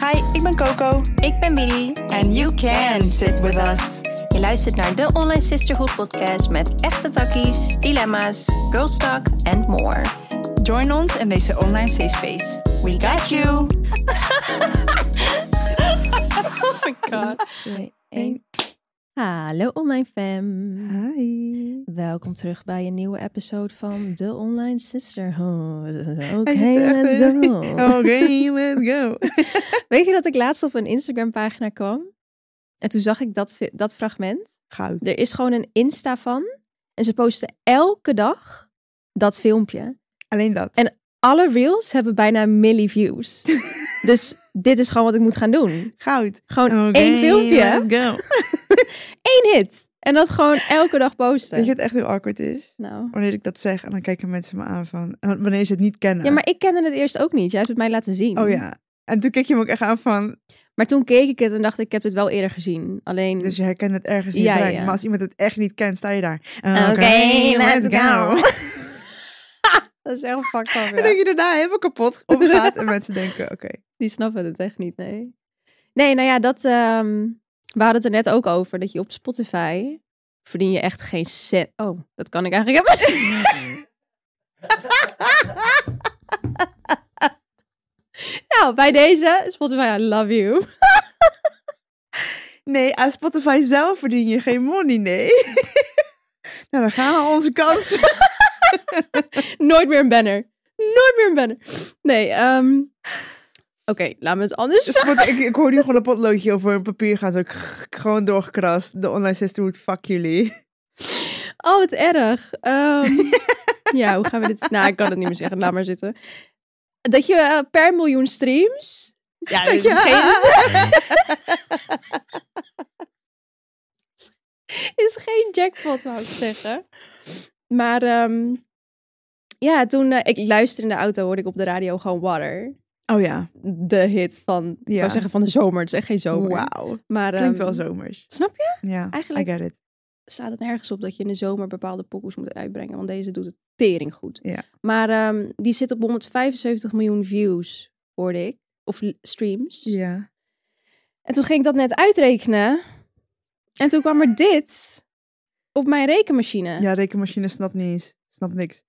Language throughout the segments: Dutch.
Hi, ik ben Coco. Ik ben Billy. And you can sit with us. Je luistert naar de Online Sisterhood podcast met echte takkies, dilemma's, girl talk and more. Join ons in deze online safe space. We got you. Oh my god. Hallo online fam. Hi. Welkom terug bij een nieuwe episode van de Online Sisterhood. Oké, Hij zit let's er echt Oh. in. go. Oké, let's go. Weet je dat ik laatst op een Instagram pagina kwam? En toen zag ik dat, vi- dat fragment. Goud. Er is gewoon een Insta van. En ze posten elke dag dat filmpje. Alleen dat. En- Alle reels hebben bijna milli views. dus dit is gewoon wat ik moet gaan doen. Goud. Gewoon Oké, één filmpje, Let's go. één hit. En dat gewoon elke dag posten. Weet je wat echt heel awkward is? Nou. Wanneer ik dat zeg en dan kijken mensen me aan van... en Wanneer ze het niet kennen. Ja, maar ik kende het eerst ook niet. Jij hebt het mij laten zien. Oh ja. En toen keek je me ook echt aan van... Maar toen keek ik het en dacht ik, ik heb het wel eerder gezien. Alleen, Dus je herkent het ergens in je Ja, brein. ja. Maar als iemand het echt niet kent, sta je daar. dat is echt fucked up, En ja. dat je daarna helemaal kapot omgaat. en mensen denken, oké. Die snappen het echt niet, nee. Nee, nou ja, dat, ehm, we hadden het er net ook over. Dat je op Spotify verdien je echt geen cent. Oh, dat kan ik eigenlijk helemaal niet. Nou, bij deze, Spotify, I love you. Nee, aan Spotify zelf verdien je geen money, nee. nou, dan gaan al onze kansen. Nooit meer een banner. Nooit meer een banner. Nee, ehm, oké, laten we het anders Dus wat- ik, ik hoor nu gewoon een potloodje over een papier gaan. Zo k- gewoon doorgekrast. De online sisterhood, fuck jullie. Oh, wat erg. Ehm, ja, hoe gaan we dit... Nou, ik kan het niet meer zeggen. Laat maar zitten. Dat je eh, per miljoen streams... Ja, dit is, Ja. Geen, is geen jackpot, wou ik zeggen. Maar ehm, ja, toen eh, ik luisterde in de auto, hoorde ik op de radio gewoon Water. Oh ja, De hit van, ik Ja. wou zeggen van de zomer. Het is echt geen zomer. wauw. Maar, Klinkt wel ehm, zomers. Snap je? Ja, Eigenlijk- I get it. Staat het nergens op dat je in de zomer bepaalde pokoes moet uitbrengen. Want deze doet het tering goed. Ja. Maar ehm, die zit op 175 miljoen views, hoorde ik. Of l- streams. Ja. En toen ging ik dat net uitrekenen. En toen kwam er dit op mijn rekenmachine. ja, rekenmachine snapt niet eens. Snapt niks.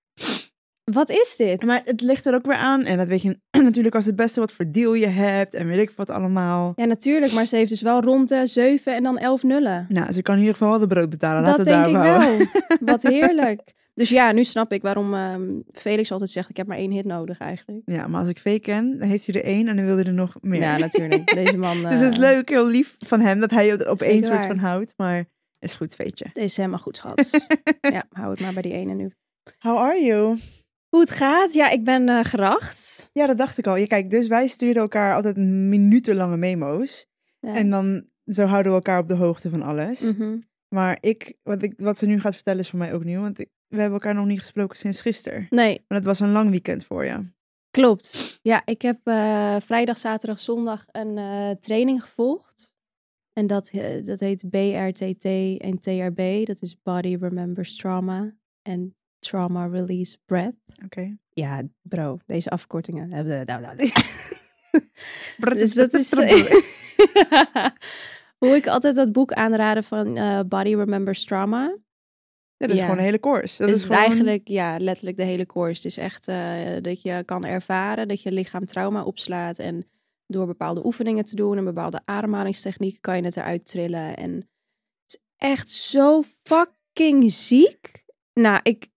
Wat is dit? Maar het ligt er ook weer aan. En dat weet je natuurlijk als het beste wat voor deal je hebt. En weet ik wat allemaal. Ja, natuurlijk. Maar ze heeft dus wel rond de 7 en dan 11 nullen. Nou, ze kan in ieder geval wel de brood betalen. Laten dat we denk daar ik houden. wel. Wat heerlijk. Dus ja, nu snap ik waarom ehm, Felix altijd zegt, ik heb maar één hit nodig eigenlijk. Ja, maar als ik fake ken, dan heeft hij er één en dan wil hij er nog meer. Ja, natuurlijk. Deze man... dus het eh, is leuk, heel lief van hem dat hij er op één Zeker soort waar. van houdt. Maar is goed, feetje. Deze is helemaal goed, schat. ja, hou het maar bij die ene nu. How are you? Hoe het gaat? Ja, ik ben eh, geracht. Ja, dat dacht ik al. Ja, kijk, dus wij stuurden elkaar altijd minutenlange memo's. Ja. En dan zo houden we elkaar op de hoogte van alles. Mhm. Maar ik wat, ik, wat ze nu gaat vertellen is voor mij ook nieuw. Want ik- we hebben elkaar nog niet gesproken sinds gisteren. Nee, Maar het was een lang weekend voor je. klopt. Ja, ik heb eh, vrijdag, zaterdag, zondag een eh, training gevolgd. En dat, eh, dat heet BRTT en TRB. Dat is Body Remembers Trauma en Trauma Release Breath. Oké. Ja, bro, deze afkortingen. nou, Brr, Dus dat is. Hoe ik altijd dat boek aanraden van eh, Body Remembers Trauma. Ja, dat is ja. gewoon een hele koers. Dat Dus is gewoon... eigenlijk, ja, letterlijk de hele koers. Het is echt eh, dat je kan ervaren dat je lichaam trauma opslaat. En door bepaalde oefeningen te doen en bepaalde ademhalingstechnieken kan je het eruit trillen. En het is echt zo fucking ziek. Nou, ik,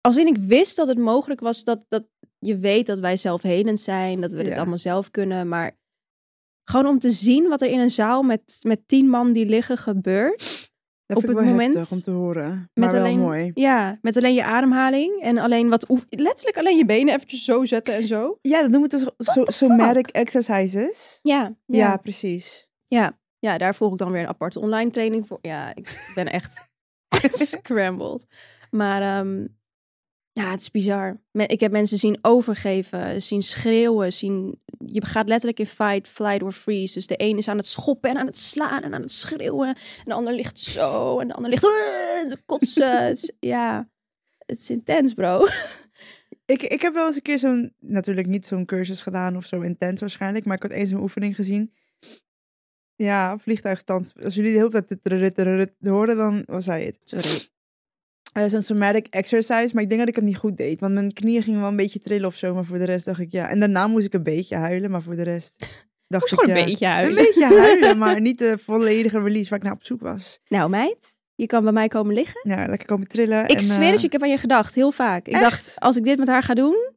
als in ik wist dat het mogelijk was dat, dat je weet dat wij zelfhelend zijn, dat we dit Ja. allemaal zelf kunnen, maar gewoon om te zien wat er in een zaal met, met tien man die liggen gebeurt. Dat op vind ik het wel moment heftig om te horen. maar wel alleen- mooi. Ja, met alleen je ademhaling en alleen wat oef- letterlijk alleen je benen eventjes zo zetten en zo. Ja, dat noemen we dus so- the somatic exercises. Ja, Ja, ja. precies. Ja, ja, daar volg ik dan weer een aparte online training voor. Ja, ik ben echt scrambled. Maar ehm, ja, het is bizar. Me- Ik heb mensen zien overgeven, zien schreeuwen, zien... Je gaat letterlijk in fight, flight or freeze. Dus de een is aan het schoppen en aan het slaan en aan het schreeuwen. En de ander ligt zo en de ander ligt... te kotsen. Het is- ja, het is intens, bro. Ik, ik heb wel eens een keer zo'n, natuurlijk niet zo'n cursus gedaan of zo intens waarschijnlijk, maar ik had eens een oefening gezien. Ja, vliegtuigstand. Als jullie de hele tijd dit- dit- dit- dit hoorden, dan was hij het. Sorry. Eh, zo'n somatic exercise, maar ik denk dat ik hem niet goed deed. Want mijn knieën gingen wel een beetje trillen of zo, maar voor de rest dacht ik ja. En daarna moest ik een beetje huilen, maar voor de rest dacht Moest ik gewoon een ja, beetje huilen. Een beetje huilen, maar niet de volledige release waar ik naar op zoek was. Nou meid, je kan bij mij komen liggen. Ja, lekker komen trillen. Ik en, zweer eh, het je, ik heb aan je gedacht, heel vaak. Ik echt? Hm. dacht, als ik dit met haar ga doen,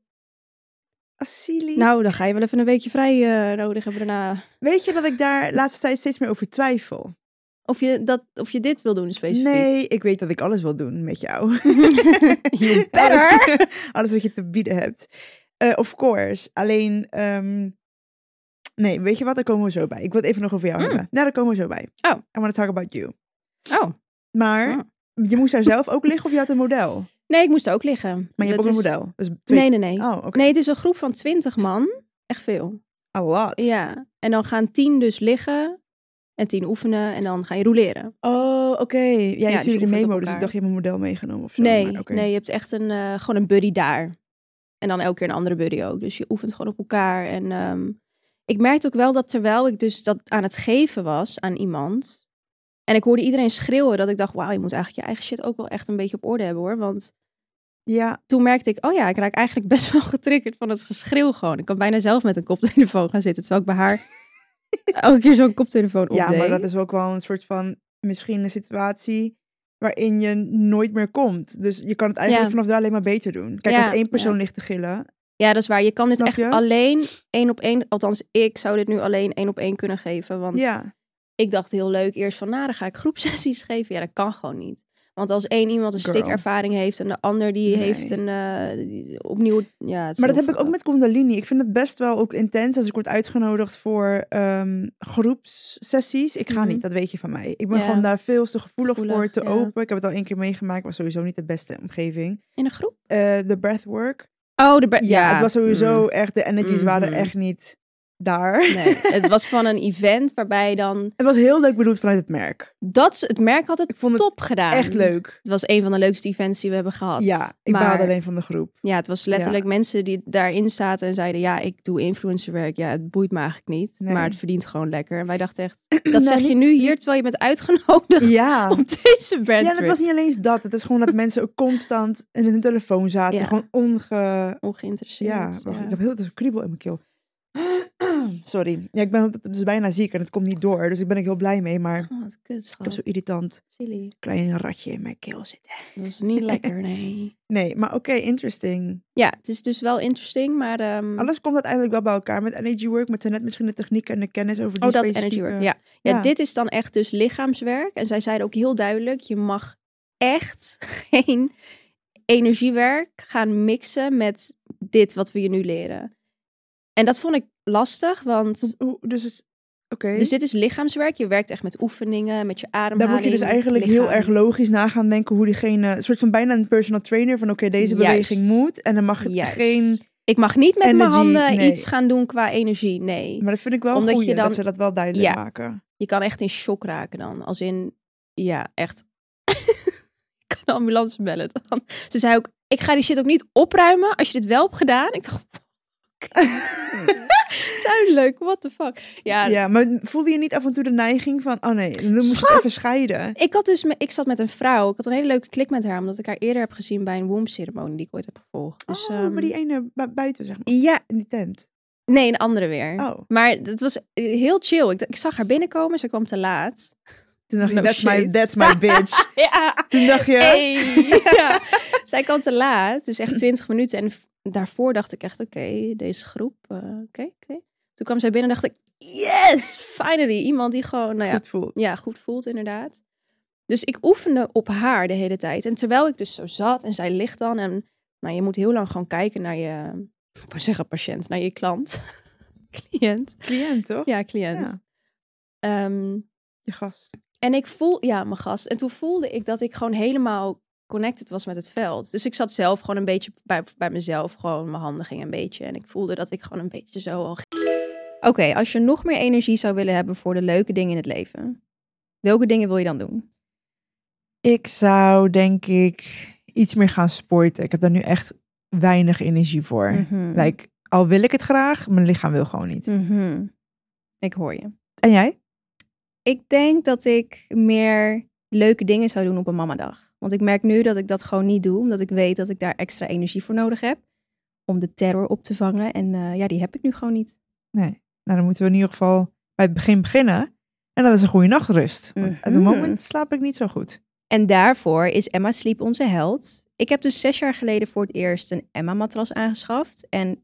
Asili. nou dan ga je wel even een weekje vrij eh, nodig hebben daarna. Weet je dat ik daar laatste tijd steeds meer over twijfel? Of je, dat, of je dit wil doen specifiek. Nee, ik weet dat ik alles wil doen met jou. you better. Alles, alles wat je te bieden hebt. Eh, of course. Alleen, ehm, nee, weet je wat? Daar komen we zo bij. Ik wil het even nog over jou Mm. hebben. Nou, daar komen we zo bij. Oh. I want to talk about you. Oh. Maar je moest daar zelf ook liggen of je had een model? Nee, ik moest ook liggen. Maar je hebt Dat ook een is- model. Dus twee... Nee, nee, nee. Oh, oké. Nee, het is een groep van twintig man. Echt veel. A lot. Ja. En dan gaan tien dus liggen. En tien oefenen. En dan ga je roleren. Oh, oké. Ja, je dus je stuurde oefent op memo, dus elkaar. ik dacht je hebt een model meegenomen of zo. nee, maar oké. nee, je hebt echt een, eh, gewoon een buddy daar. En dan elke keer een andere buddy ook. Dus je oefent gewoon op elkaar. En ehm, ik merkte ook wel dat terwijl ik dus dat aan het geven was aan iemand. En ik hoorde iedereen schreeuwen dat ik dacht, wauw, je moet eigenlijk je eigen shit ook wel echt een beetje op orde hebben hoor. Want Ja, toen merkte ik, oh ja, ik raak eigenlijk best wel getriggerd van het geschreeuw gewoon. Ik kan bijna zelf met een koptelefoon gaan zitten, terwijl ik bij haar elke keer zo'n koptelefoon opdeed. ja, maar dat is ook wel een soort van misschien een situatie waarin je nooit meer komt. Dus je kan het eigenlijk Ja. vanaf daar alleen maar beter doen. Kijk, Ja, als één persoon ja. ligt te gillen, Ja, dat is waar. Je kan dit Snap echt je? alleen één op één, althans ik zou dit nu alleen één op één kunnen geven. Want ja, ik dacht heel leuk eerst van, nou dan ga ik groepsessies geven. Ja, dat kan gewoon niet. Want als één iemand een Girl. stikervaring heeft en de ander die Nee. heeft een eh, die- opnieuw... Ja, het is Maar dat heel heb ik ook fucked met Kundalini. Ik vind het best wel ook intens als ik word uitgenodigd voor ehm, groepssessies. Ik ga Mhm. niet, dat weet je van mij. Ik ben Ja. gewoon daar veel te gevoelig, voor, Gevoelig, te ja. open. Ik heb het al één keer meegemaakt, was sowieso niet de beste omgeving. up. In een groep? Eh, De breathwork. Oh, de... Mm. bre- Ja, het was sowieso echt, de energies waren Mhm. echt niet daar. Mm. Nee, het was van een event waarbij dan... Het was heel leuk bedoeld vanuit het merk. Dat, ze- het merk had het Ik vond het top gedaan. echt leuk. Het was een van de leukste events die we hebben gehad. Ja, ik maar, baalde alleen van de groep. Ja, het was letterlijk mensen die daarin zaten en zeiden... ja, ik doe influencerwerk. Ja, het boeit me eigenlijk niet. Nee. Maar het verdient gewoon lekker. En wij dachten echt... Nou, Dat zeg je niet- nu hier, terwijl je bent uitgenodigd Ja. op deze brand Ja, en het was niet alleen eens dat. Het is gewoon dat mensen ook constant in hun telefoon zaten. Ja. Gewoon onge... Oh, ongeïnteresseerd. Ja, wacht, ik heb heel veel kriebel in mijn keel. Sorry. Ja, ik ben altijd- dus bijna ziek en het komt niet door. Dus ik ben ik heel blij mee. Maar Oh, wat kut, ik schat. heb zo'n irritant Silly. klein ratje in mijn keel zitten. Dat is niet lekker, nee. Nee, maar oké, interesting. Ja, het is dus wel interesting, maar... ehm, Alles komt uiteindelijk wel bij elkaar met energy work. Met net misschien de techniek en de kennis over die Oh, dat specifieke- energy work. Ja. Ja, eh, Ja. dit is dan echt dus lichaamswerk. En zij zeiden ook heel duidelijk: je mag echt geen energiewerk gaan mixen met dit wat we je nu leren. En dat vond ik lastig, want. Hoe- hoe- Dus, is- oké. Dus dit is lichaamswerk. Je werkt echt met oefeningen, met je ademhaling. Dan moet je dus eigenlijk heel lichaam. erg logisch na gaan denken hoe diegene... Een soort van bijna een personal trainer van oké, deze Juist. beweging moet. En dan mag Juist. geen... Ik mag niet met mijn energy, handen nee. iets gaan doen qua energie. Nee. Maar dat vind ik wel Omdat een je goeie, dan- dat ze dat wel duidelijk Ja. maken. Je kan echt in shock raken dan. Als in, ja, echt. ik kan de ambulance bellen dan. Ze zei ook, ik ga die shit ook niet opruimen als je dit wel hebt gedaan. Ik dacht, fuck. duidelijk, what the fuck. Ja, Ja, maar voelde je niet af en toe de neiging van... Oh nee, dan moest je het even scheiden. ik, had dus, me- ik zat met een vrouw. Ik had een hele leuke klik met haar, omdat ik haar eerder heb gezien bij een wombceremonie die ik ooit heb gevolgd. Dus, oh, ehm, maar die ene bu- buiten, zeg maar. Ja, In die tent. nee, een andere weer. Oh, Maar het was eh, heel chill. Ik, d- ik zag haar binnenkomen, ze kwam te laat. toen dacht je, No that's, shade. my, that's my bitch. Ja, toen dacht je... ja. Zij kwam te laat, dus echt 20 minuten. En v- daarvoor dacht ik echt, oké, deze groep, eh, oké, oké. Toen kwam zij binnen en dacht ik, yes, finally. Iemand die gewoon, nou ja, Goed voelt. ja, goed voelt inderdaad. Dus ik oefende op haar de hele tijd. En terwijl ik dus zo zat en zij ligt dan en... Nou, je moet heel lang gewoon kijken naar je... Ik wou zeggen patiënt, naar je klant. cliënt. Cliënt, toch? Ja, cliënt. Ja. Ehm, Je gast. en ik voel, ja, mijn gast. En toen voelde ik dat ik gewoon helemaal connected was met het veld. Dus ik zat zelf gewoon een beetje bij, bij mezelf, gewoon mijn handen gingen een beetje. En ik voelde dat ik gewoon een beetje zo al. ging. Oké, als je nog meer energie zou willen hebben voor de leuke dingen in het leven, welke dingen wil je dan doen? Ik zou, denk ik, iets meer gaan sporten. Ik heb daar nu echt weinig energie voor. Mhm. Like, al wil ik het graag, mijn lichaam wil gewoon niet. Mhm. Ik hoor je. En jij? Ik denk dat ik meer leuke dingen zou doen op een mamadag. Want ik merk nu dat ik dat gewoon niet doe, omdat ik weet dat ik daar extra energie voor nodig heb. Om de terror op te vangen. En eh, ja, die heb ik nu gewoon niet. Nee. Nou, dan moeten we in ieder geval bij het begin beginnen. En dat is een goede nachtrust. Want op het Mhm. moment slaap ik niet zo goed. En daarvoor is Emma Sleep onze held. Ik heb dus zes jaar geleden voor het eerst een Emma-matras aangeschaft. En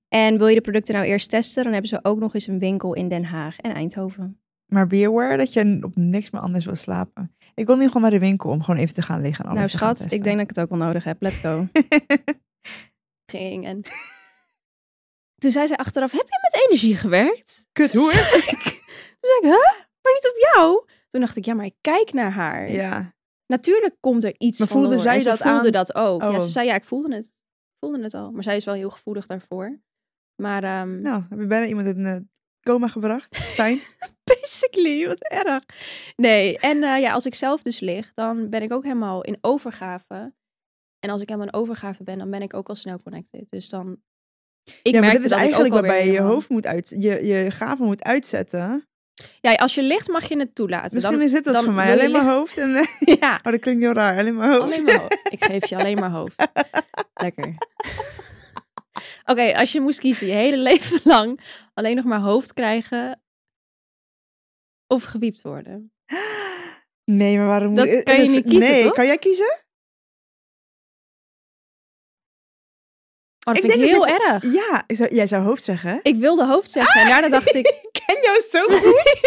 En wil je de producten nou eerst testen, dan hebben ze ook nog eens een winkel in Den Haag en Oh, Eindhoven. Maar be aware dat je op niks meer anders wil slapen. Ik wil nu gewoon naar de winkel om gewoon even te gaan liggen en alles nou te gaan schat, ik denk dat ik het ook wel nodig heb. Let's go. testen. ging. En toen zei ze achteraf, heb je met energie gewerkt? Kut, Toen hoe? zei ik, toen zei ik, huh? Maar niet op jou? Toen dacht ik, ja, maar ik kijk naar haar. ja. Natuurlijk komt er iets Maar van voelde door. zij en ze dat voelde aan? dat ook. Ja, Oh. ze zei, ja, ik voelde het. Ik voelde het al. Maar zij is wel heel gevoelig daarvoor. Maar ehm, Nou, heb je bijna iemand in eh, coma gebracht? Fijn. Basically, wat erg. Nee, en eh, ja, als ik zelf dus lig, dan ben ik ook helemaal in overgave. En als ik helemaal in overgave ben, dan ben ik ook al snel connected. Dus dan. Ik ja, maar merkte dit is dat ik eigenlijk ook alweer waarbij je je helemaal- hoofd moet uit, je, je gaven moet uitzetten. Ja, als je ligt, mag je het toelaten. Misschien dan, is dit wat dan voor mij. wil je Alleen maar hoofd en... eh, Ja, Oh, dat klinkt heel raar. Alleen maar hoofd. alleen maar hoofd. Ik geef je alleen maar hoofd. Lekker. Oké, als je moest kiezen je hele leven lang alleen nog maar hoofd krijgen of gewiept worden. Nee, maar waarom... Dat moet- kan je is- niet kiezen, Nee, toch? kan jij kiezen? Oh, dat Ik vind ik denk heel dat je- erg. Ja, ik zou- jij zou hoofd zeggen. Ik wilde hoofd zeggen en daarna dacht ik, Ik ken jou zo goed.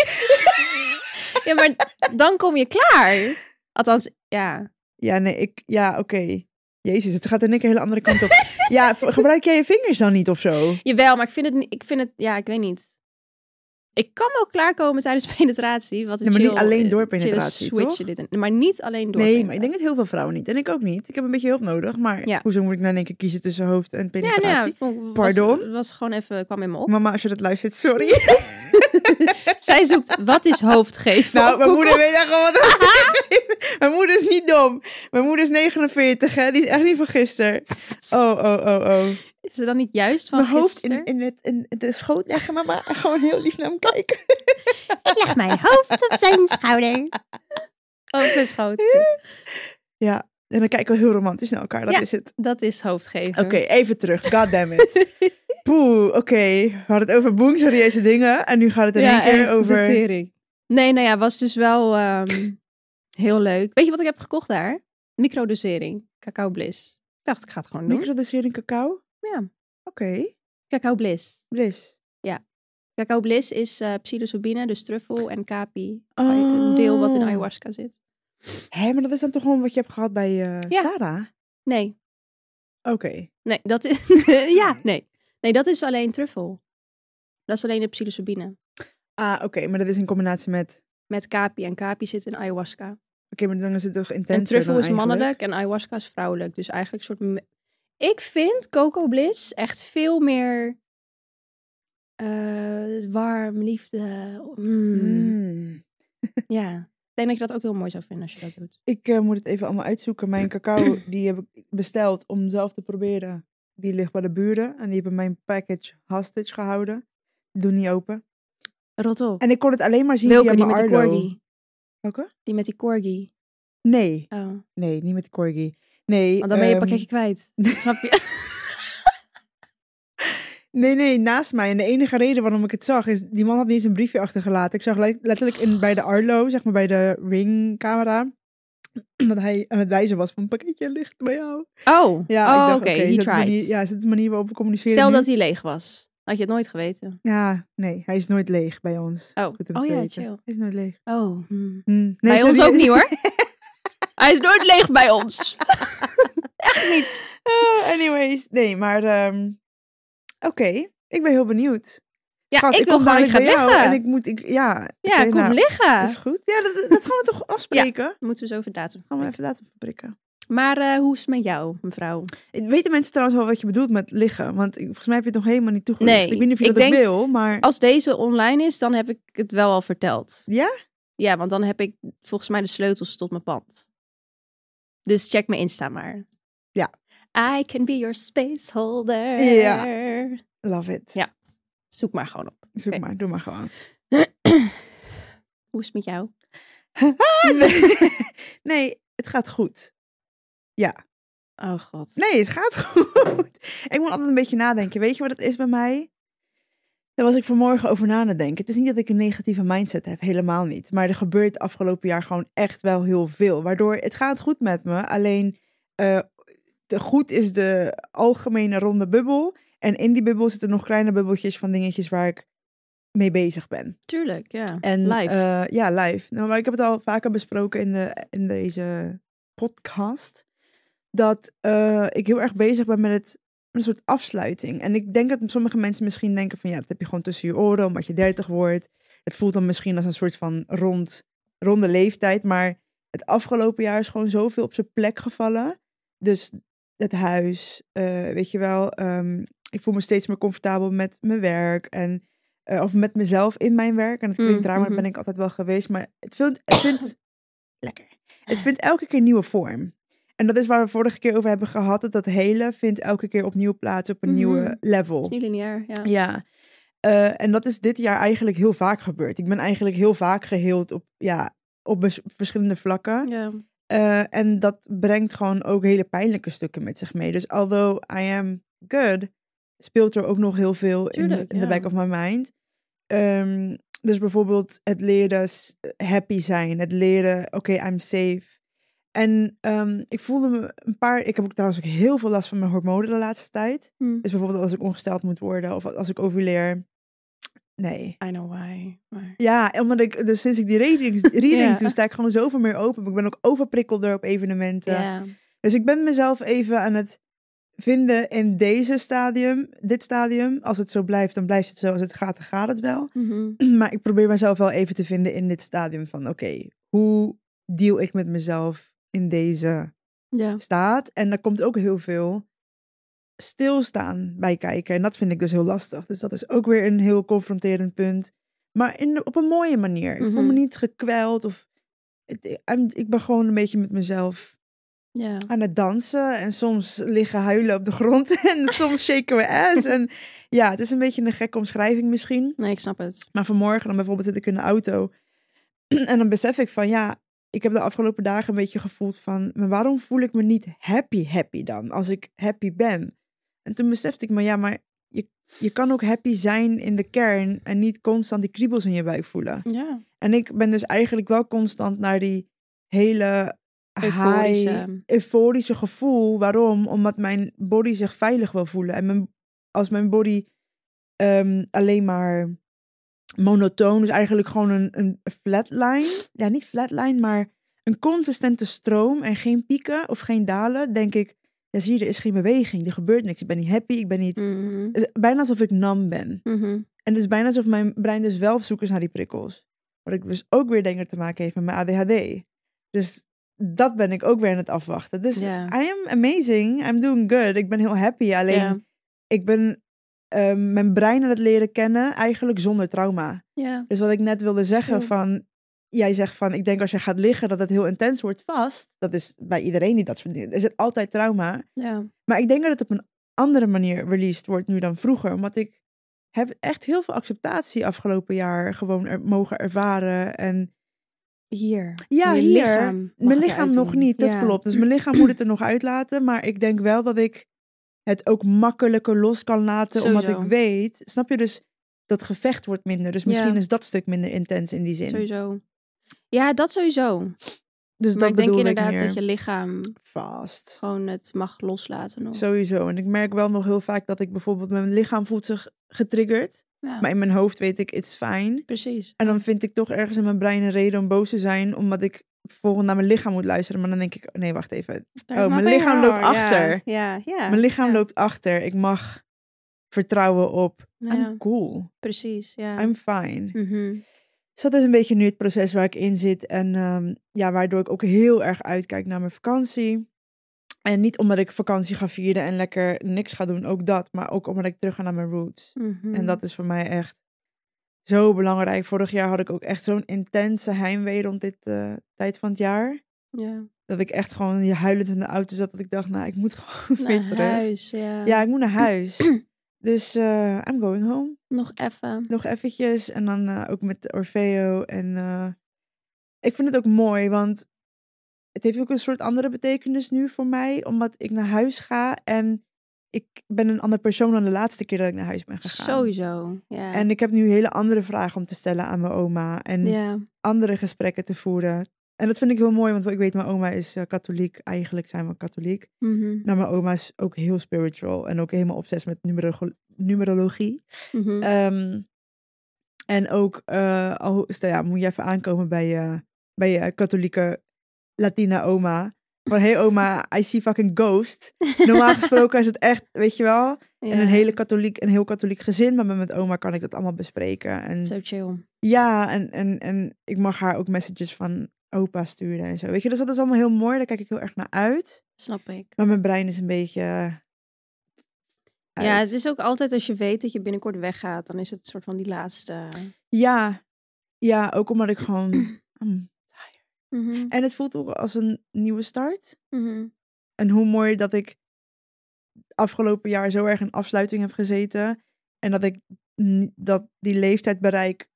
Ja, maar dan kom je klaar. Althans, ja. ja, nee, ik... Ja, oké. Jezus, het gaat in één keer een hele andere kant op. ja, v- gebruik jij je vingers dan niet of zo? Jawel, maar ik vind het, ni- ik vind het ja, ik weet niet. Ik kan wel klaarkomen tijdens penetratie. Wat een Ja, maar niet chill, alleen eh, door chille penetratie, switch je Dit in, maar niet alleen door Nee, maar ik denk penetratie. dat heel veel vrouwen niet. En ik ook niet. Ik heb een beetje hulp nodig. Maar Ja. hoezo moet ik nou in één keer kiezen tussen hoofd en Ja, penetratie? nou ja, vond- was- Was, Pardon? gewoon even, kwam in me op. Mama, als je dat luistert, sorry. Zij zoekt, wat is hoofdgeven? Nou, Of mijn koek- moeder weet echt wel wat er- Mijn moeder is niet dom. Mijn moeder is 49, hè. Die is echt niet van gisteren. Oh, oh, oh, oh. Is ze dan niet juist van Mijn hoofd gisteren? in, in, het, in de schoot leggen, mama. En gewoon heel lief naar hem kijken. Ik leg mijn hoofd op zijn schouder. Oh, ze is groot. Goed. Ja, en dan kijken we heel romantisch naar elkaar. Dat Ja. is het. Dat is hoofdgeven. Oké, even terug. God damn it. Poeh, oké. We hadden het over boem, serieuze dingen. En nu gaat het in één keer echt, de over... tering. Nee, nou ja, was dus wel ehm, heel leuk. Weet je wat ik heb gekocht daar? Microdosering. Cacao Bliss. Ik dacht, ik ga het gewoon doen. Microdosering cacao? Ja. Oké, Cacao Bliss. bliss. Cacao Bliss is eh, psilocybine, dus truffel en capi. Een deel wat in Oh. ayahuasca zit. Hé, maar dat is dan toch gewoon wat je hebt gehad bij eh, Ja. Sarah? Nee, Oké. nee, dat is... ja, nee. Nee, dat is alleen truffel. Dat is alleen de psilocybine. Ah, oké, maar dat is in combinatie met... Oké, Met capi. En capi zit in ayahuasca. maar dan is het toch intenser En truffel dan is eigenlijk? mannelijk en ayahuasca is vrouwelijk. Dus eigenlijk een soort... me- Ik vind Coco Bliss echt veel meer eh, warm, liefde. Mm, Mm. Ja. Ik denk dat je dat ook heel mooi zou vinden als je dat doet. Ik eh, moet het even allemaal uitzoeken. Mijn cacao, die heb ik besteld om zelf te proberen. Die ligt bij de buren. En die hebben mijn package hostage gehouden. Doe niet open. Rot op. En ik kon het alleen maar zien Welke, die via met mijn die Arlo. corgi? Welke? Die met die corgi. Nee, Oh, want nee, niet met de corgi. Nee, dan ben je ehm, een pakketje kwijt. Snap je? nee, nee, naast mij. En de enige reden waarom ik het zag is, die man had niet eens een briefje achtergelaten. Ik zag le- letterlijk in, bij de Arlo, zeg maar bij de ringcamera, dat hij aan het wijzen was van een pakketje ligt bij jou. Oh, Ja, ik oh dacht, oké. oké, He is dat de tried. manier- ja, is dat de manier waarop we communiceren Stel nu? dat hij leeg was. Had je het nooit geweten. Ja, nee, hij is nooit leeg bij ons. Oh, Goed om oh te ja, weten. chill. Hij is nooit leeg. Oh. hmm. Hm, nee, bij ons serieus. ook niet hoor. Hij is nooit leeg bij ons. Ah, Eh, anyways, nee, maar ehm, oké, ik ben heel benieuwd. Ja, Schat, ik, wil kom gewoon dat je dadelijk gaat bij jou liggen. En ik moet, ik, ja. ja, oké, kom nou, liggen. Dat is goed. Ja, dat, dat gaan we toch afspreken? dus Moeten we zo over datum. Gaan we even laten verprikken. Maar eh, hoe is het met jou, mevrouw? Weten mensen trouwens wel wat je bedoelt met liggen? Want ik- volgens mij heb je het nog helemaal niet toegelicht. Nee, ik weet niet of je ik dat ook denk- wil, maar... Als deze online is, dan heb ik het wel al verteld. Ja? Ja, want dan heb ik volgens mij de sleutels tot mijn pand. Dus check mijn Insta maar. Ja. I can be your space holder. Ja. Love it. Oh. Ja. Zoek maar gewoon op. Zoek Oké. maar, doe maar gewoon. Hoe is het met jou? Ah, Nee, het gaat goed. Oh god. Nee, het gaat goed. Ik moet altijd een beetje nadenken. Weet je wat het is bij mij? Daar was ik vanmorgen over na aan het denken. Het is niet dat ik een negatieve mindset heb, helemaal niet. Maar er gebeurt afgelopen jaar gewoon echt wel heel veel. Waardoor het gaat goed met me. Alleen eh, de goed is de algemene ronde bubbel. En in die bubbel zitten nog kleine bubbeltjes van dingetjes waar ik mee bezig ben. Tuurlijk, ja. En, Live. eh, ja, live. Nou, maar ik heb het al vaker besproken in, de, in deze podcast. Dat eh, ik heel erg bezig ben met het, een soort afsluiting. En ik denk dat sommige mensen misschien denken van... Ja, dat heb je gewoon tussen je oren omdat je dertig wordt. Het voelt dan misschien als een soort van rond, ronde leeftijd. Maar het afgelopen jaar is gewoon zoveel op zijn plek gevallen. Dus het huis, eh, weet je wel. ehm, ik voel me steeds meer comfortabel met mijn werk. En eh, of met mezelf in mijn werk. En het Mm, klinkt raar, maar mhm. dat ben ik altijd wel geweest. Maar het vindt, het vindt lekker. Het vindt elke keer nieuwe vorm. En dat is waar we vorige keer over hebben gehad. Dat dat hele vindt elke keer opnieuw plaats op een Mhm. nieuwe level. Het is niet lineair, ja. Ja. Eh, en dat is dit jaar eigenlijk heel vaak gebeurd. Ik ben eigenlijk heel vaak geheeld op, ja, op bes- verschillende vlakken. Ja. Eh, en dat brengt gewoon ook hele pijnlijke stukken met zich mee. Dus although I am good, speelt er ook nog heel veel in, Tuurlijk, in the ja. back of my mind. Ehm, dus bijvoorbeeld het leren s- eh, happy zijn, het leren oké, I'm safe. En ehm, ik voelde me een paar. Ik heb ook trouwens ook heel veel last van mijn hormonen de laatste tijd. Hm. Dus bijvoorbeeld als ik ongesteld moet worden of als ik overleer. Nee. I know why. Maar... Ja, en omdat ik, dus sinds ik die readings, readings Ja. doe, sta ik gewoon zoveel meer open. Ik ben ook overprikkelder op evenementen. Ja. Dus ik ben mezelf even aan het vinden in deze stadium, dit stadium. Als het zo blijft, dan blijft het zo. Als het gaat, dan gaat het wel. Mhm. Maar ik probeer mezelf wel even te vinden in dit stadium van, oké, hoe deal ik met mezelf in deze ja. staat? En daar komt ook heel veel stilstaan bij kijken. En dat vind ik dus heel lastig. Dus dat is ook weer een heel confronterend punt. Maar in, op een mooie manier. Ik voel me Mhm. niet gekweld of... het- I'm- ik ben gewoon een beetje met mezelf Ja. aan het dansen. En soms liggen huilen op de grond. En soms shaken we ass. En ja, het is een beetje een gekke omschrijving misschien. Nee, ik snap het. Maar vanmorgen dan bijvoorbeeld zit ik in de auto. En dan besef ik van ja, ik heb de afgelopen dagen een beetje gevoeld van... Maar waarom voel ik me niet happy happy dan? Als ik happy ben. En toen besefte ik me ja, maar je, je kan ook happy zijn in de kern. En niet constant die kriebels in je buik voelen. Ja. En ik ben dus eigenlijk wel constant naar die hele Euforische. high, euforische gevoel. Waarom? Omdat mijn body zich veilig wil voelen. En mijn, als mijn body ehm, alleen maar monotoon, dus eigenlijk gewoon een, een flatline. Ja, niet flatline, maar een consistente stroom en geen pieken of geen dalen. Denk ik, ja zie je, er is geen beweging, er gebeurt niks. Ik ben niet happy, ik ben niet... Mhm. Het is bijna alsof ik nam ben. Mhm. En het is bijna alsof mijn brein dus wel op zoek is naar die prikkels. Wat ik dus ook weer denk dat te maken heeft met mijn ADHD. Dus dat ben ik ook weer aan het afwachten. Dus Ja. I am amazing. I'm doing good. Ik ben heel happy. Alleen Ja. ik ben ehm, mijn brein aan het leren kennen eigenlijk zonder trauma. Ja. Dus wat ik net wilde zeggen Zo. van... Jij zegt van, ik denk als je gaat liggen dat het heel intens wordt vast. Dat is bij iedereen die dat soort dingen... Is het altijd trauma. Ja. Maar ik denk dat het op een andere manier released wordt nu dan vroeger. Omdat ik heb echt heel veel acceptatie afgelopen jaar gewoon er, mogen ervaren. En Hier. ja, Mijn hier. lichaam mag mijn het lichaam nog uitdoen. niet, dat Ja. klopt. Dus mijn lichaam moet het er nog uitlaten. Maar ik denk wel dat ik het ook makkelijker los kan laten. Omdat Sowieso. ik weet, snap je dus, dat gevecht wordt minder. Dus misschien Ja. is dat stuk minder intens in die zin. Sowieso. Ja, dat sowieso. Maar Dus dat ik denk bedoel ik inderdaad meer. dat je Oh. lichaam Vast. gewoon het mag loslaten nog. Sowieso. En ik merk wel nog heel vaak dat ik bijvoorbeeld... Mijn lichaam voelt zich getriggerd. ja, Maar in mijn hoofd weet ik, it's fine. precies. En dan vind ik toch ergens in mijn brein een reden om boos te zijn, omdat ik volgens naar mijn lichaam moet luisteren. Maar dan denk ik, oh nee, wacht even. There's oh, mijn nothing lichaam loopt wrong. Ja, achter. Ja, ja. mijn lichaam ja. loopt achter. Ik mag vertrouwen op Nou ja, I'm cool, precies. Ja. I'm fine. Mhm. Dus dat is een beetje nu het proces waar ik in zit. En ehm, ja, waardoor ik ook heel erg uitkijk naar mijn vakantie. En niet omdat ik vakantie ga vieren en lekker niks ga doen, ook dat. Maar ook omdat ik terug ga naar mijn roots. Mhm. En dat is voor mij echt zo belangrijk. Vorig jaar had ik ook echt zo'n intense heimwee rond dit eh, tijd van het jaar. ja. Dat ik echt gewoon huilend in de auto zat. Dat ik dacht, nou, ik moet gewoon weer Naar terug. huis, ja. Ja, ik moet naar huis. dus eh, I'm going home Nog even. nog eventjes. En dan eh, ook met Orfeo. En eh, ik vind het ook mooi, want het heeft ook een soort andere betekenis nu voor mij. Omdat ik naar huis ga en ik ben een ander persoon dan de laatste keer dat ik naar huis ben gegaan. Sowieso. Ja. En ik heb nu hele andere vragen om te stellen aan mijn oma. En ja. andere gesprekken te voeren. En dat vind ik heel mooi, want ik weet, mijn oma is eh, katholiek. Eigenlijk zijn we katholiek. Mhm. Maar mijn oma is ook heel spiritual en ook helemaal obsessief met numero- numerologie. Mhm. Ehm, en ook, eh, al stel, ja, moet je even aankomen bij je, bij je katholieke Latina oma. Van, hey oma, I see fucking ghost. Normaal gesproken is het echt, weet je wel, in Ja. een, hele katholiek, een heel katholiek gezin. Maar met oma kan ik dat allemaal bespreken. En Zo chill. ja, en, en, en ik mag haar ook messages van opa sturen en zo. Weet je, dus dat is allemaal heel mooi. Daar kijk ik heel erg naar uit. Snap ik. Maar mijn brein is een beetje... eh, Ja, uit. het is ook altijd als je weet dat je binnenkort weggaat, dan is het een soort van die laatste. Ja, ja, ook omdat ik gewoon. Mm. En het voelt ook als een nieuwe start. Mhm. En hoe mooi dat ik afgelopen jaar zo erg in afsluiting heb gezeten. En dat ik ni- dat die leeftijd bereik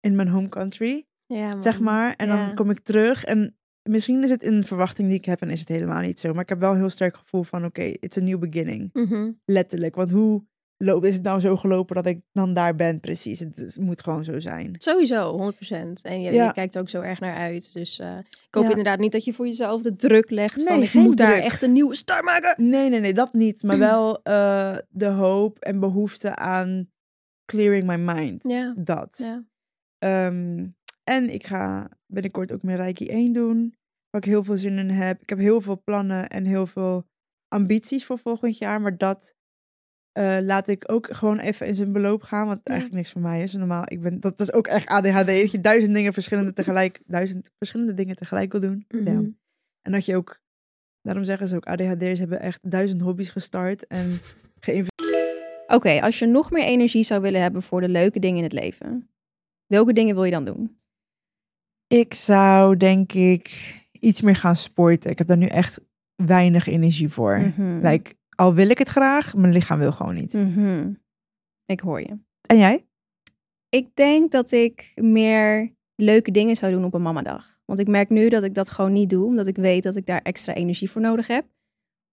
in mijn home country, Ja, man. zeg maar. En Mm, ja. dan kom ik terug en misschien is het een verwachting die ik heb en is het helemaal niet zo. Maar ik heb wel een heel sterk gevoel van, oké, it's a new beginning. Mhm. Letterlijk, want hoe lo- is het nou zo gelopen dat ik dan daar ben precies? Het, is- moet gewoon zo zijn. Sowieso, 100%. En je, Ja. je kijkt er ook zo erg naar uit. Dus eh, ik hoop Ja. inderdaad niet dat je voor jezelf de druk legt van Nee, ik geen moet daar druk. echt een nieuwe start maken. Nee, nee, nee, dat niet. Maar wel eh, de hoop en behoefte aan clearing my mind. Ja, Dat. ja. Ehm, en ik ga binnenkort ook mijn Reiki 1 doen. Waar ik heel veel zin in heb. Ik heb heel veel plannen en heel veel ambities voor volgend jaar. Maar dat eh, laat ik ook gewoon even in zijn beloop gaan. Wat eigenlijk niks van mij is. Normaal, ik ben, dat is ook echt ADHD. Dat je duizend dingen verschillende tegelijk, duizend verschillende dingen tegelijk wil doen. Mhm. Ja. En dat je ook, daarom zeggen ze ook, ADHD'ers hebben echt duizend hobby's gestart. En Oké, als je nog meer energie zou willen hebben voor de leuke dingen in het leven, welke dingen wil je dan doen? ik zou denk ik iets meer gaan sporten. Ik heb daar nu echt weinig energie voor. Mhm. Like, al wil ik het graag, mijn lichaam wil gewoon niet. Mhm. Ik hoor je. En jij? Ik denk dat ik meer leuke dingen zou doen op een mamadag. Want ik merk nu dat ik dat gewoon niet doe, omdat ik weet dat ik daar extra energie voor nodig heb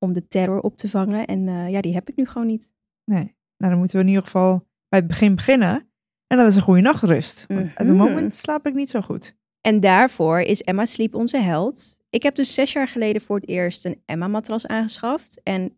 om de terror op te vangen. En eh, ja, die heb ik nu gewoon niet. Nee. Nou, dan moeten we in ieder geval bij het begin beginnen. En dat is een goede nachtrust. Want op het Mhm. moment slaap ik niet zo goed. En daarvoor is Emma Sleep onze held. Ik heb dus zes jaar geleden voor het eerst een Emma-matras aangeschaft. En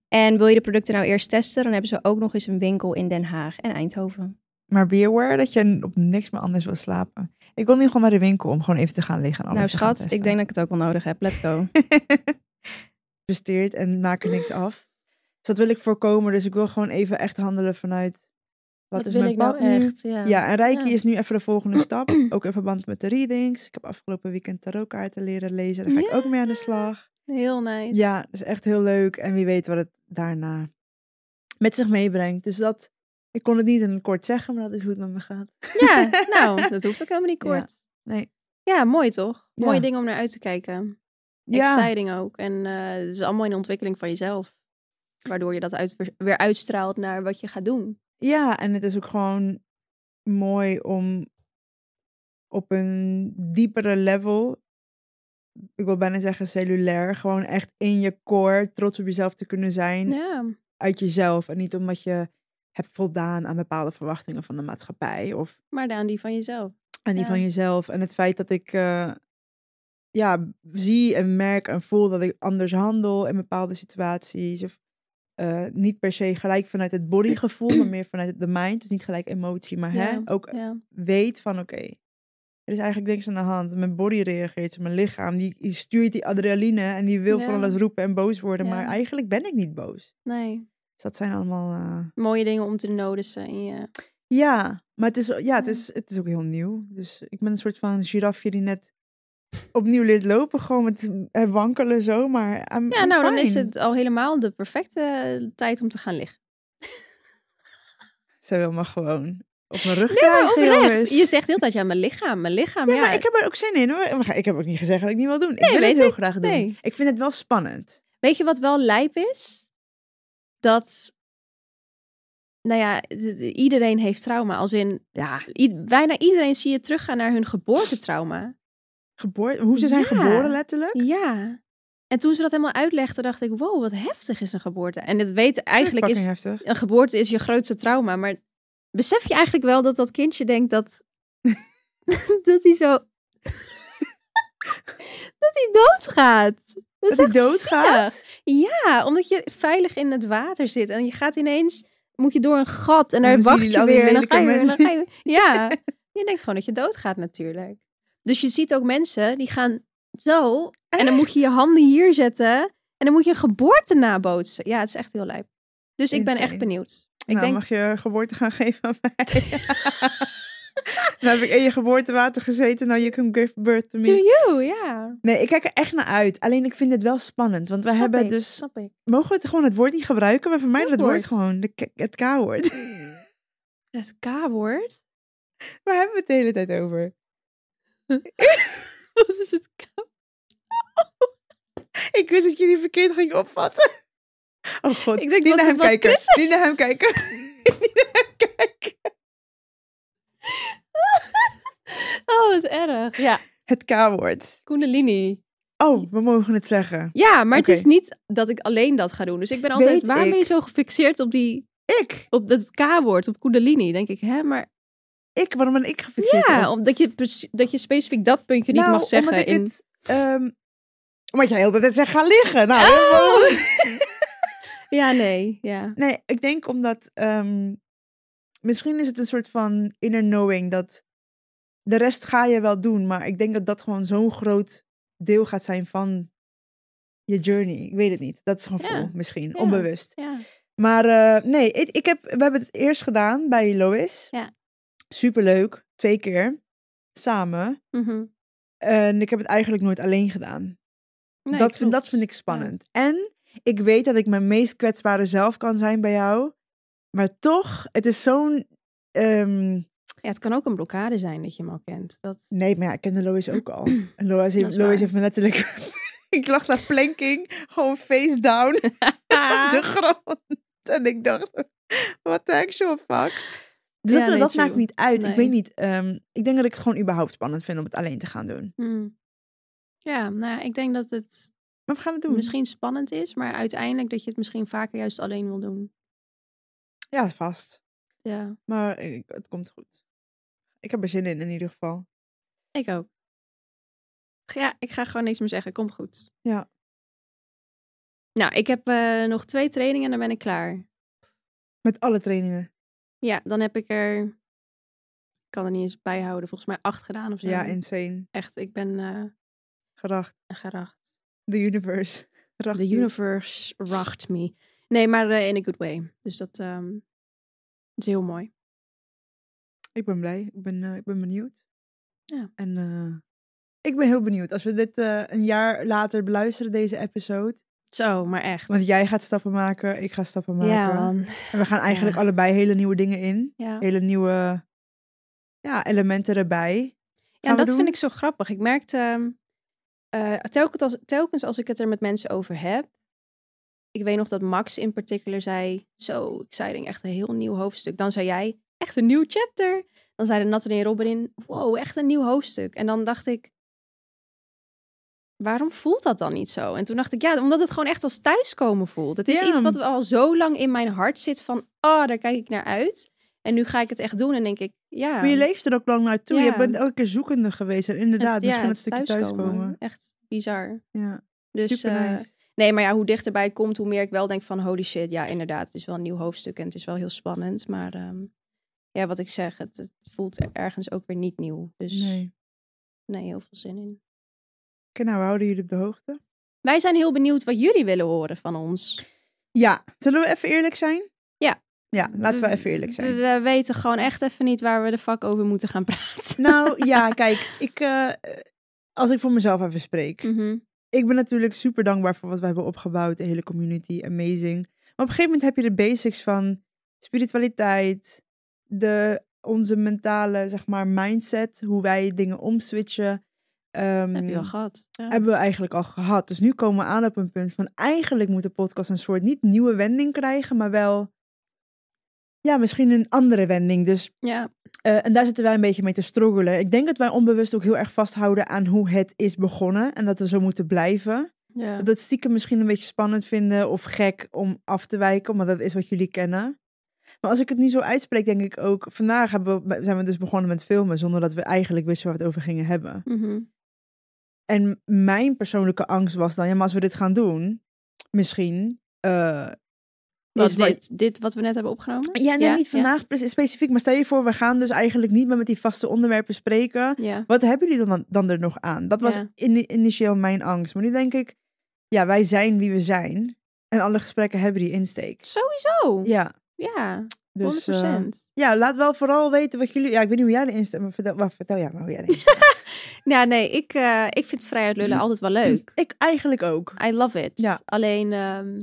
En wil je de producten nou eerst testen, dan hebben ze ook nog eens een winkel in Den Haag en Oh, Eindhoven. Maar be aware dat je op niks meer anders wil slapen. Ik wil nu gewoon naar de winkel om gewoon even te gaan liggen en alles nou te gaan schat, ik testen. denk dat ik het ook wel nodig heb. Let's go. Presteert en maak er niks af. Dus dat wil ik voorkomen. Dus ik wil gewoon even echt handelen vanuit... Wat, Wat is wil mijn ik pad nou nu? echt? Ja. Ja, en Reiki Ja. is nu even de volgende stap. Ook in verband met de readings. Ik heb afgelopen weekend tarotkaarten leren lezen. Daar ga ik ook mee aan de slag. Heel nice. Ja, dat is echt heel leuk. En wie weet wat het daarna met zich meebrengt. Dus dat, ik kon het niet in het kort zeggen, maar dat is hoe het met me gaat. Ja, nou, dat hoeft ook helemaal niet Ja. kort. Nee. Ja, mooi toch? Ja. Mooie dingen om naar uit te kijken. Exciting ook. En eh, het is allemaal in de ontwikkeling van jezelf. Waardoor je dat uit, weer uitstraalt naar wat je gaat doen. ja, en het is ook gewoon mooi om op een diepere level, ik wil bijna zeggen cellulair, gewoon echt in je core trots op jezelf te kunnen zijn. Ja, Uit jezelf en niet omdat je heb voldaan aan bepaalde verwachtingen van de maatschappij of Maar dan die van jezelf. aan die Ja. van jezelf. En het feit dat ik eh, ja, zie en merk en voel dat ik anders handel in bepaalde situaties. Of eh, niet per se gelijk vanuit het bodygevoel, maar meer vanuit de mind. Dus niet gelijk emotie, maar Ja, hè, ook Ja. weet van oké, er is eigenlijk niks aan de hand. Mijn body reageert, mijn lichaam, die, die stuurt die adrenaline en die wil Ja. van alles roepen en boos worden. Ja. Maar eigenlijk ben ik niet boos. Nee. Dus dat zijn allemaal... eh, Mooie dingen om te noticen in je. ja, maar het is, ja, het, is, het is ook heel nieuw. Dus ik ben een soort van girafje die net opnieuw leert lopen. Gewoon met eh, wankelen zo, maar I'm- Ja, I'm nou dan is fine. het al helemaal de perfecte eh, tijd om te gaan liggen. Zij wil me gewoon op mijn rug Nee, maar krijgen, oprecht. jongens. Je zegt heel de tijd, ja, mijn lichaam, mijn lichaam. Nee, ja, maar ik heb er ook zin in. hoor. Maar Ik heb ook niet gezegd dat ik niet wil doen. Ik Nee, wil weet het heel ik. graag doen. Nee. Ik vind het wel spannend. Weet je wat wel lijp is? Dat, nou ja, d- d- iedereen heeft trauma. Als in, Ja, i- bijna iedereen zie je teruggaan naar hun geboortetrauma. geboorte, hoe ze zijn Ja. geboren letterlijk. Ja. En toen ze dat helemaal uitlegde, dacht ik, wow, wat heftig is een geboorte. En het weet eigenlijk Fucking is, heftig. een geboorte is je grootste trauma. Maar besef je eigenlijk wel dat dat kindje denkt dat, dat hij zo, dat hij doodgaat. Dat hij doodgaat. Ja, omdat je veilig in het water zit en je gaat ineens, moet je door een gat en En daar dan wacht zien je jullie al weer die en dan ga je weer en dan lelijke ga je weer. Ja, je denkt gewoon dat je doodgaat natuurlijk. Dus je ziet ook mensen die gaan zo en dan moet je je handen hier zetten en dan moet je een geboorte nabootsen. Ja, het is echt heel lijp. Dus ik ben echt Insane. benieuwd. Ik nou, denk, mag je geboorte gaan geven aan mij? Dan heb ik in je geboortewater gezeten. Nou, you can give birth to me. to you, ja. Nee, ik kijk er echt naar uit. Alleen ik vind het wel spannend. Want we Snap hebben ik, dus... Snap ik. Mogen we het gewoon het woord niet gebruiken? We vermijden Welk het woord woord? gewoon. De K- het K-woord. Het K-woord? Waar hebben we het de hele tijd over? Wat is het K? Ik wist dat jullie verkeerd ging opvatten. Oh god. Ik denk, niet wat- naar hem wat kijken. Chris- Niet naar hem kijken. niet naar hem kijken. Oh, wat erg. Ja, Het K-woord. Kundalini. Oh, we mogen het zeggen. Ja, maar Oké. het is niet dat ik alleen dat ga doen. Dus ik ben altijd, Weet waarom ben je ik. zo gefixeerd op, die, Ik. op dat K-woord, op Kundalini? Denk ik, hè, maar Ik. Waarom ben ik gefixeerd op? ja, omdat je, precie- dat je specifiek dat puntje niet mag zeggen. Nou, Omdat, ik in, het, ehm, omdat jij heel de tijd zegt, ga liggen. Nou, Oh! Ja, nee, ja. Nee, ik denk omdat... ehm, misschien is het een soort van inner knowing dat... De rest ga je wel doen, maar ik denk dat dat gewoon zo'n groot deel gaat zijn van je journey. Ik weet het niet. Dat is gewoon Ja. vol, misschien. Ja. Onbewust. ja. Maar eh, nee, ik, ik heb, we hebben het eerst gedaan bij Lois. Ja. Superleuk. Twee keer. Samen. mhm. En ik heb het eigenlijk nooit alleen gedaan Nee, dat, vind, klopt. dat vind ik spannend. En ik weet dat ik mijn meest kwetsbare zelf kan zijn bij jou. Maar toch, het is zo'n. ehm, Ja, het kan ook een blokkade zijn dat je hem al kent. Dat... nee, maar ja, ik kende Lois ook al. En Dat Lois heeft, is Lois waar. heeft me letterlijk. ik lag naar planking, gewoon face down op Ah. de grond. En ik dacht, what the actual fuck. Dus Ja, dat, nee, dat true. maakt niet uit. Nee. Ik weet niet. ehm, ik denk dat ik het gewoon überhaupt spannend vind om het alleen te gaan doen. Hmm. Ja, nou, ja, ik denk dat het Maar we gaan het doen. misschien spannend is, maar uiteindelijk dat je het misschien vaker juist alleen wil doen. Ja, vast. Ja, Maar ik- het komt goed. Ik heb er zin in, in ieder geval. ik ook. Ja, ik ga gewoon niks meer zeggen. Komt goed. Ja. Nou, ik heb eh, nog twee trainingen en dan ben ik klaar. Met alle trainingen. Ja, dan heb ik er. Ik kan er niet eens bijhouden. Volgens mij acht gedaan of zo. Ja, insane. Echt, ik ben eh Geracht. geracht. The universe. Racht The universe racht me. Nee, maar eh, in a good way. Dus dat ehm, is heel mooi. Ik ben blij. Ik ben, eh, ik ben benieuwd. Ja. En eh, ik ben heel benieuwd. Als we dit eh, een jaar later beluisteren, deze episode. Zo, maar echt. Want jij gaat stappen maken, ik ga stappen maken. ja, man. en we gaan eigenlijk Ja. allebei hele nieuwe dingen in. Ja. Hele nieuwe ja, elementen erbij. Ja, we dat doen? vind ik zo grappig. Ik merkte ehm, eh, telkens, als, telkens als ik het er met mensen over heb. Ik weet nog dat Max in particular zei: Zo, exciting, echt een heel nieuw hoofdstuk. Dan zei jij: Echt een nieuw chapter. Dan zeiden Nathalie en Robin: Wow, echt een nieuw hoofdstuk. En dan dacht ik: waarom voelt dat dan niet zo? En toen dacht ik, ja, omdat het gewoon echt als thuiskomen voelt. Het is Ja. iets wat al zo lang in mijn hart zit van, oh, daar kijk ik naar uit. En nu ga ik het echt doen en denk ik, ja. Maar je leeft er ook lang naartoe. Ja. Je bent elke keer zoekende geweest. En het- inderdaad, ja, dus misschien het het stukje thuiskomen. thuiskomen. Echt bizar. Ja, Dus super eh, nice. nee, maar ja, hoe dichterbij het komt, hoe meer ik wel denk van, holy shit, ja, inderdaad. Het is wel een nieuw hoofdstuk en het is wel heel spannend. Maar ehm, ja, wat ik zeg, het, het voelt ergens ook weer niet nieuw. Dus Nee. nee, Oké, heel veel zin in. nou, we houden jullie op de hoogte. Wij zijn heel benieuwd wat jullie willen horen van ons. Ja, zullen we even eerlijk zijn? Ja. Ja, laten we even eerlijk zijn. We, we weten gewoon echt even niet waar we de fuck over moeten gaan praten. Nou ja, kijk, ik, eh, als ik voor mezelf even spreek. Mhm. Ik ben natuurlijk super dankbaar voor wat we hebben opgebouwd. De hele community, amazing. Maar op een gegeven moment heb je de basics van spiritualiteit, de, onze mentale, zeg maar, mindset. Hoe wij dingen omswitchen. Ehm, Heb je wel gehad. Ja. hebben we eigenlijk al gehad. Dus nu komen we aan op een punt van eigenlijk moet de podcast een soort niet nieuwe wending krijgen, maar wel ja, misschien een andere wending. Dus Ja. eh, en daar zitten wij een beetje mee te struggelen. Ik denk dat wij onbewust ook heel erg vasthouden aan hoe het is begonnen en dat we zo moeten blijven. Ja. Dat we het stiekem misschien een beetje spannend vinden of gek om af te wijken, maar dat is wat jullie kennen. Maar als ik het nu zo uitspreek, denk ik ook, vandaag hebben we, zijn we dus begonnen met filmen zonder dat we eigenlijk wisten waar we het over gingen hebben. Mhm. En mijn persoonlijke angst was dan, ja, maar als we dit gaan doen, misschien. eh, Wat, is waar- dit, dit wat we net hebben opgenomen? Ja, nee, niet vandaag pre- specifiek, maar stel je voor, we gaan dus eigenlijk niet meer met die vaste onderwerpen spreken. Ja. Ja. Wat hebben jullie dan, dan er nog aan? Dat was Ja. ini- initieel mijn angst. Maar nu denk ik, ja, wij zijn wie we zijn. En alle gesprekken hebben die insteek. Sowieso. Ja, Ja, dus. 100%. eh, ja, laat wel vooral weten wat jullie. Ja, ik weet niet hoe jij erin staat, maar vertel, maar vertel jij maar hoe jij erin staat. Ja, nee, ik, eh, ik vind vrijuit lullen altijd wel leuk. ik eigenlijk ook. I love it. Ja. Alleen, ehm,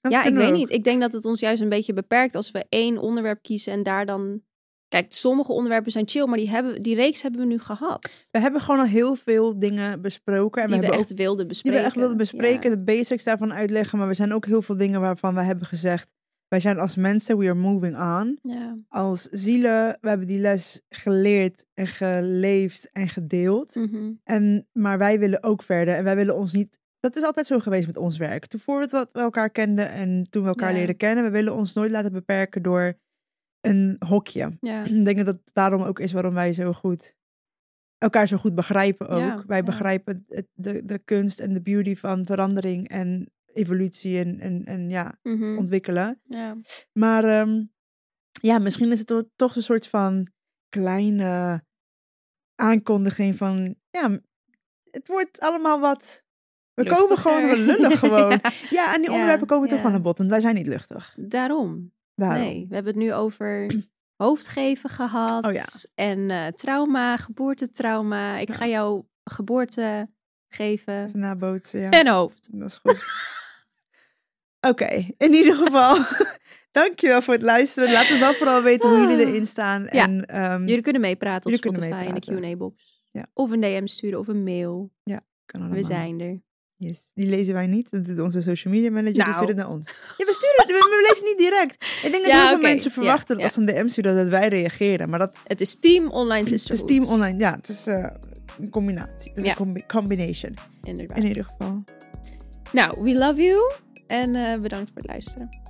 Dat ja, ik kunnen weet we ook. niet. Ik denk dat het ons juist een beetje beperkt als we één onderwerp kiezen en daar dan... Kijk, sommige onderwerpen zijn chill, maar die, hebben, die reeks hebben we nu gehad. We hebben gewoon al heel veel dingen besproken. En die we we hebben echt wilden die bespreken. we echt wilden bespreken, Ja. de basics daarvan uitleggen. Maar we zijn ook heel veel dingen waarvan we hebben gezegd, wij zijn als mensen, we are moving on. Ja. Als zielen, we hebben die les geleerd en geleefd en gedeeld. Mhm. En, maar wij willen ook verder en wij willen ons niet... Dat is altijd zo geweest met ons werk. Toen voordat we- we elkaar kenden en toen we elkaar Ja. leren kennen, we willen ons nooit laten beperken door een hokje. ja. Ik denk dat dat daarom ook is waarom wij zo goed elkaar zo goed begrijpen ook. Ja, wij ja. begrijpen het, de, de kunst en de beauty van verandering en evolutie en, en, en ja, Mhm. ontwikkelen. ja. Maar ehm, ja, misschien is het to- toch een soort van kleine aankondiging van ja, het wordt allemaal wat. We komen gewoon, we lullen gewoon. ja. Ja, en die Ja, onderwerpen komen toch ja. wel aan bod, want wij zijn niet luchtig. Daarom. Daarom. Nee, we hebben het nu over hoofdgeven gehad. Oh ja. En eh, trauma, geboortetrauma. Ik Ja. ga jou geboorte geven. Even nabootsen, ja. En hoofd. Dat is goed. Oké, in ieder geval. Dankjewel voor het luisteren. Laat het wel vooral weten hoe jullie erin staan. Ja. En, ehm, Jullie kunnen meepraten op Jullie kunnen Spotify in meepraten. de Q&A-box. Ja. Of een DM sturen of een mail. kan allemaal. We zijn er. Yes. Die lezen wij niet. Dat doet onze social media manager. Die Nou. stuurt het naar ons. Ja, we sturen we, we lezen niet direct. Ik denk dat Ja, heel veel oké. mensen Ja, verwachten ja. dat als ze een DM sturen dat wij reageren. Maar dat Het is Team Online het Sisterhood. is team online. Ja, het is eh, een combinatie. Het is Ja. een combi- combination. Inderdaad. In ieder geval. Nou, we love you. En eh, bedankt voor het luisteren.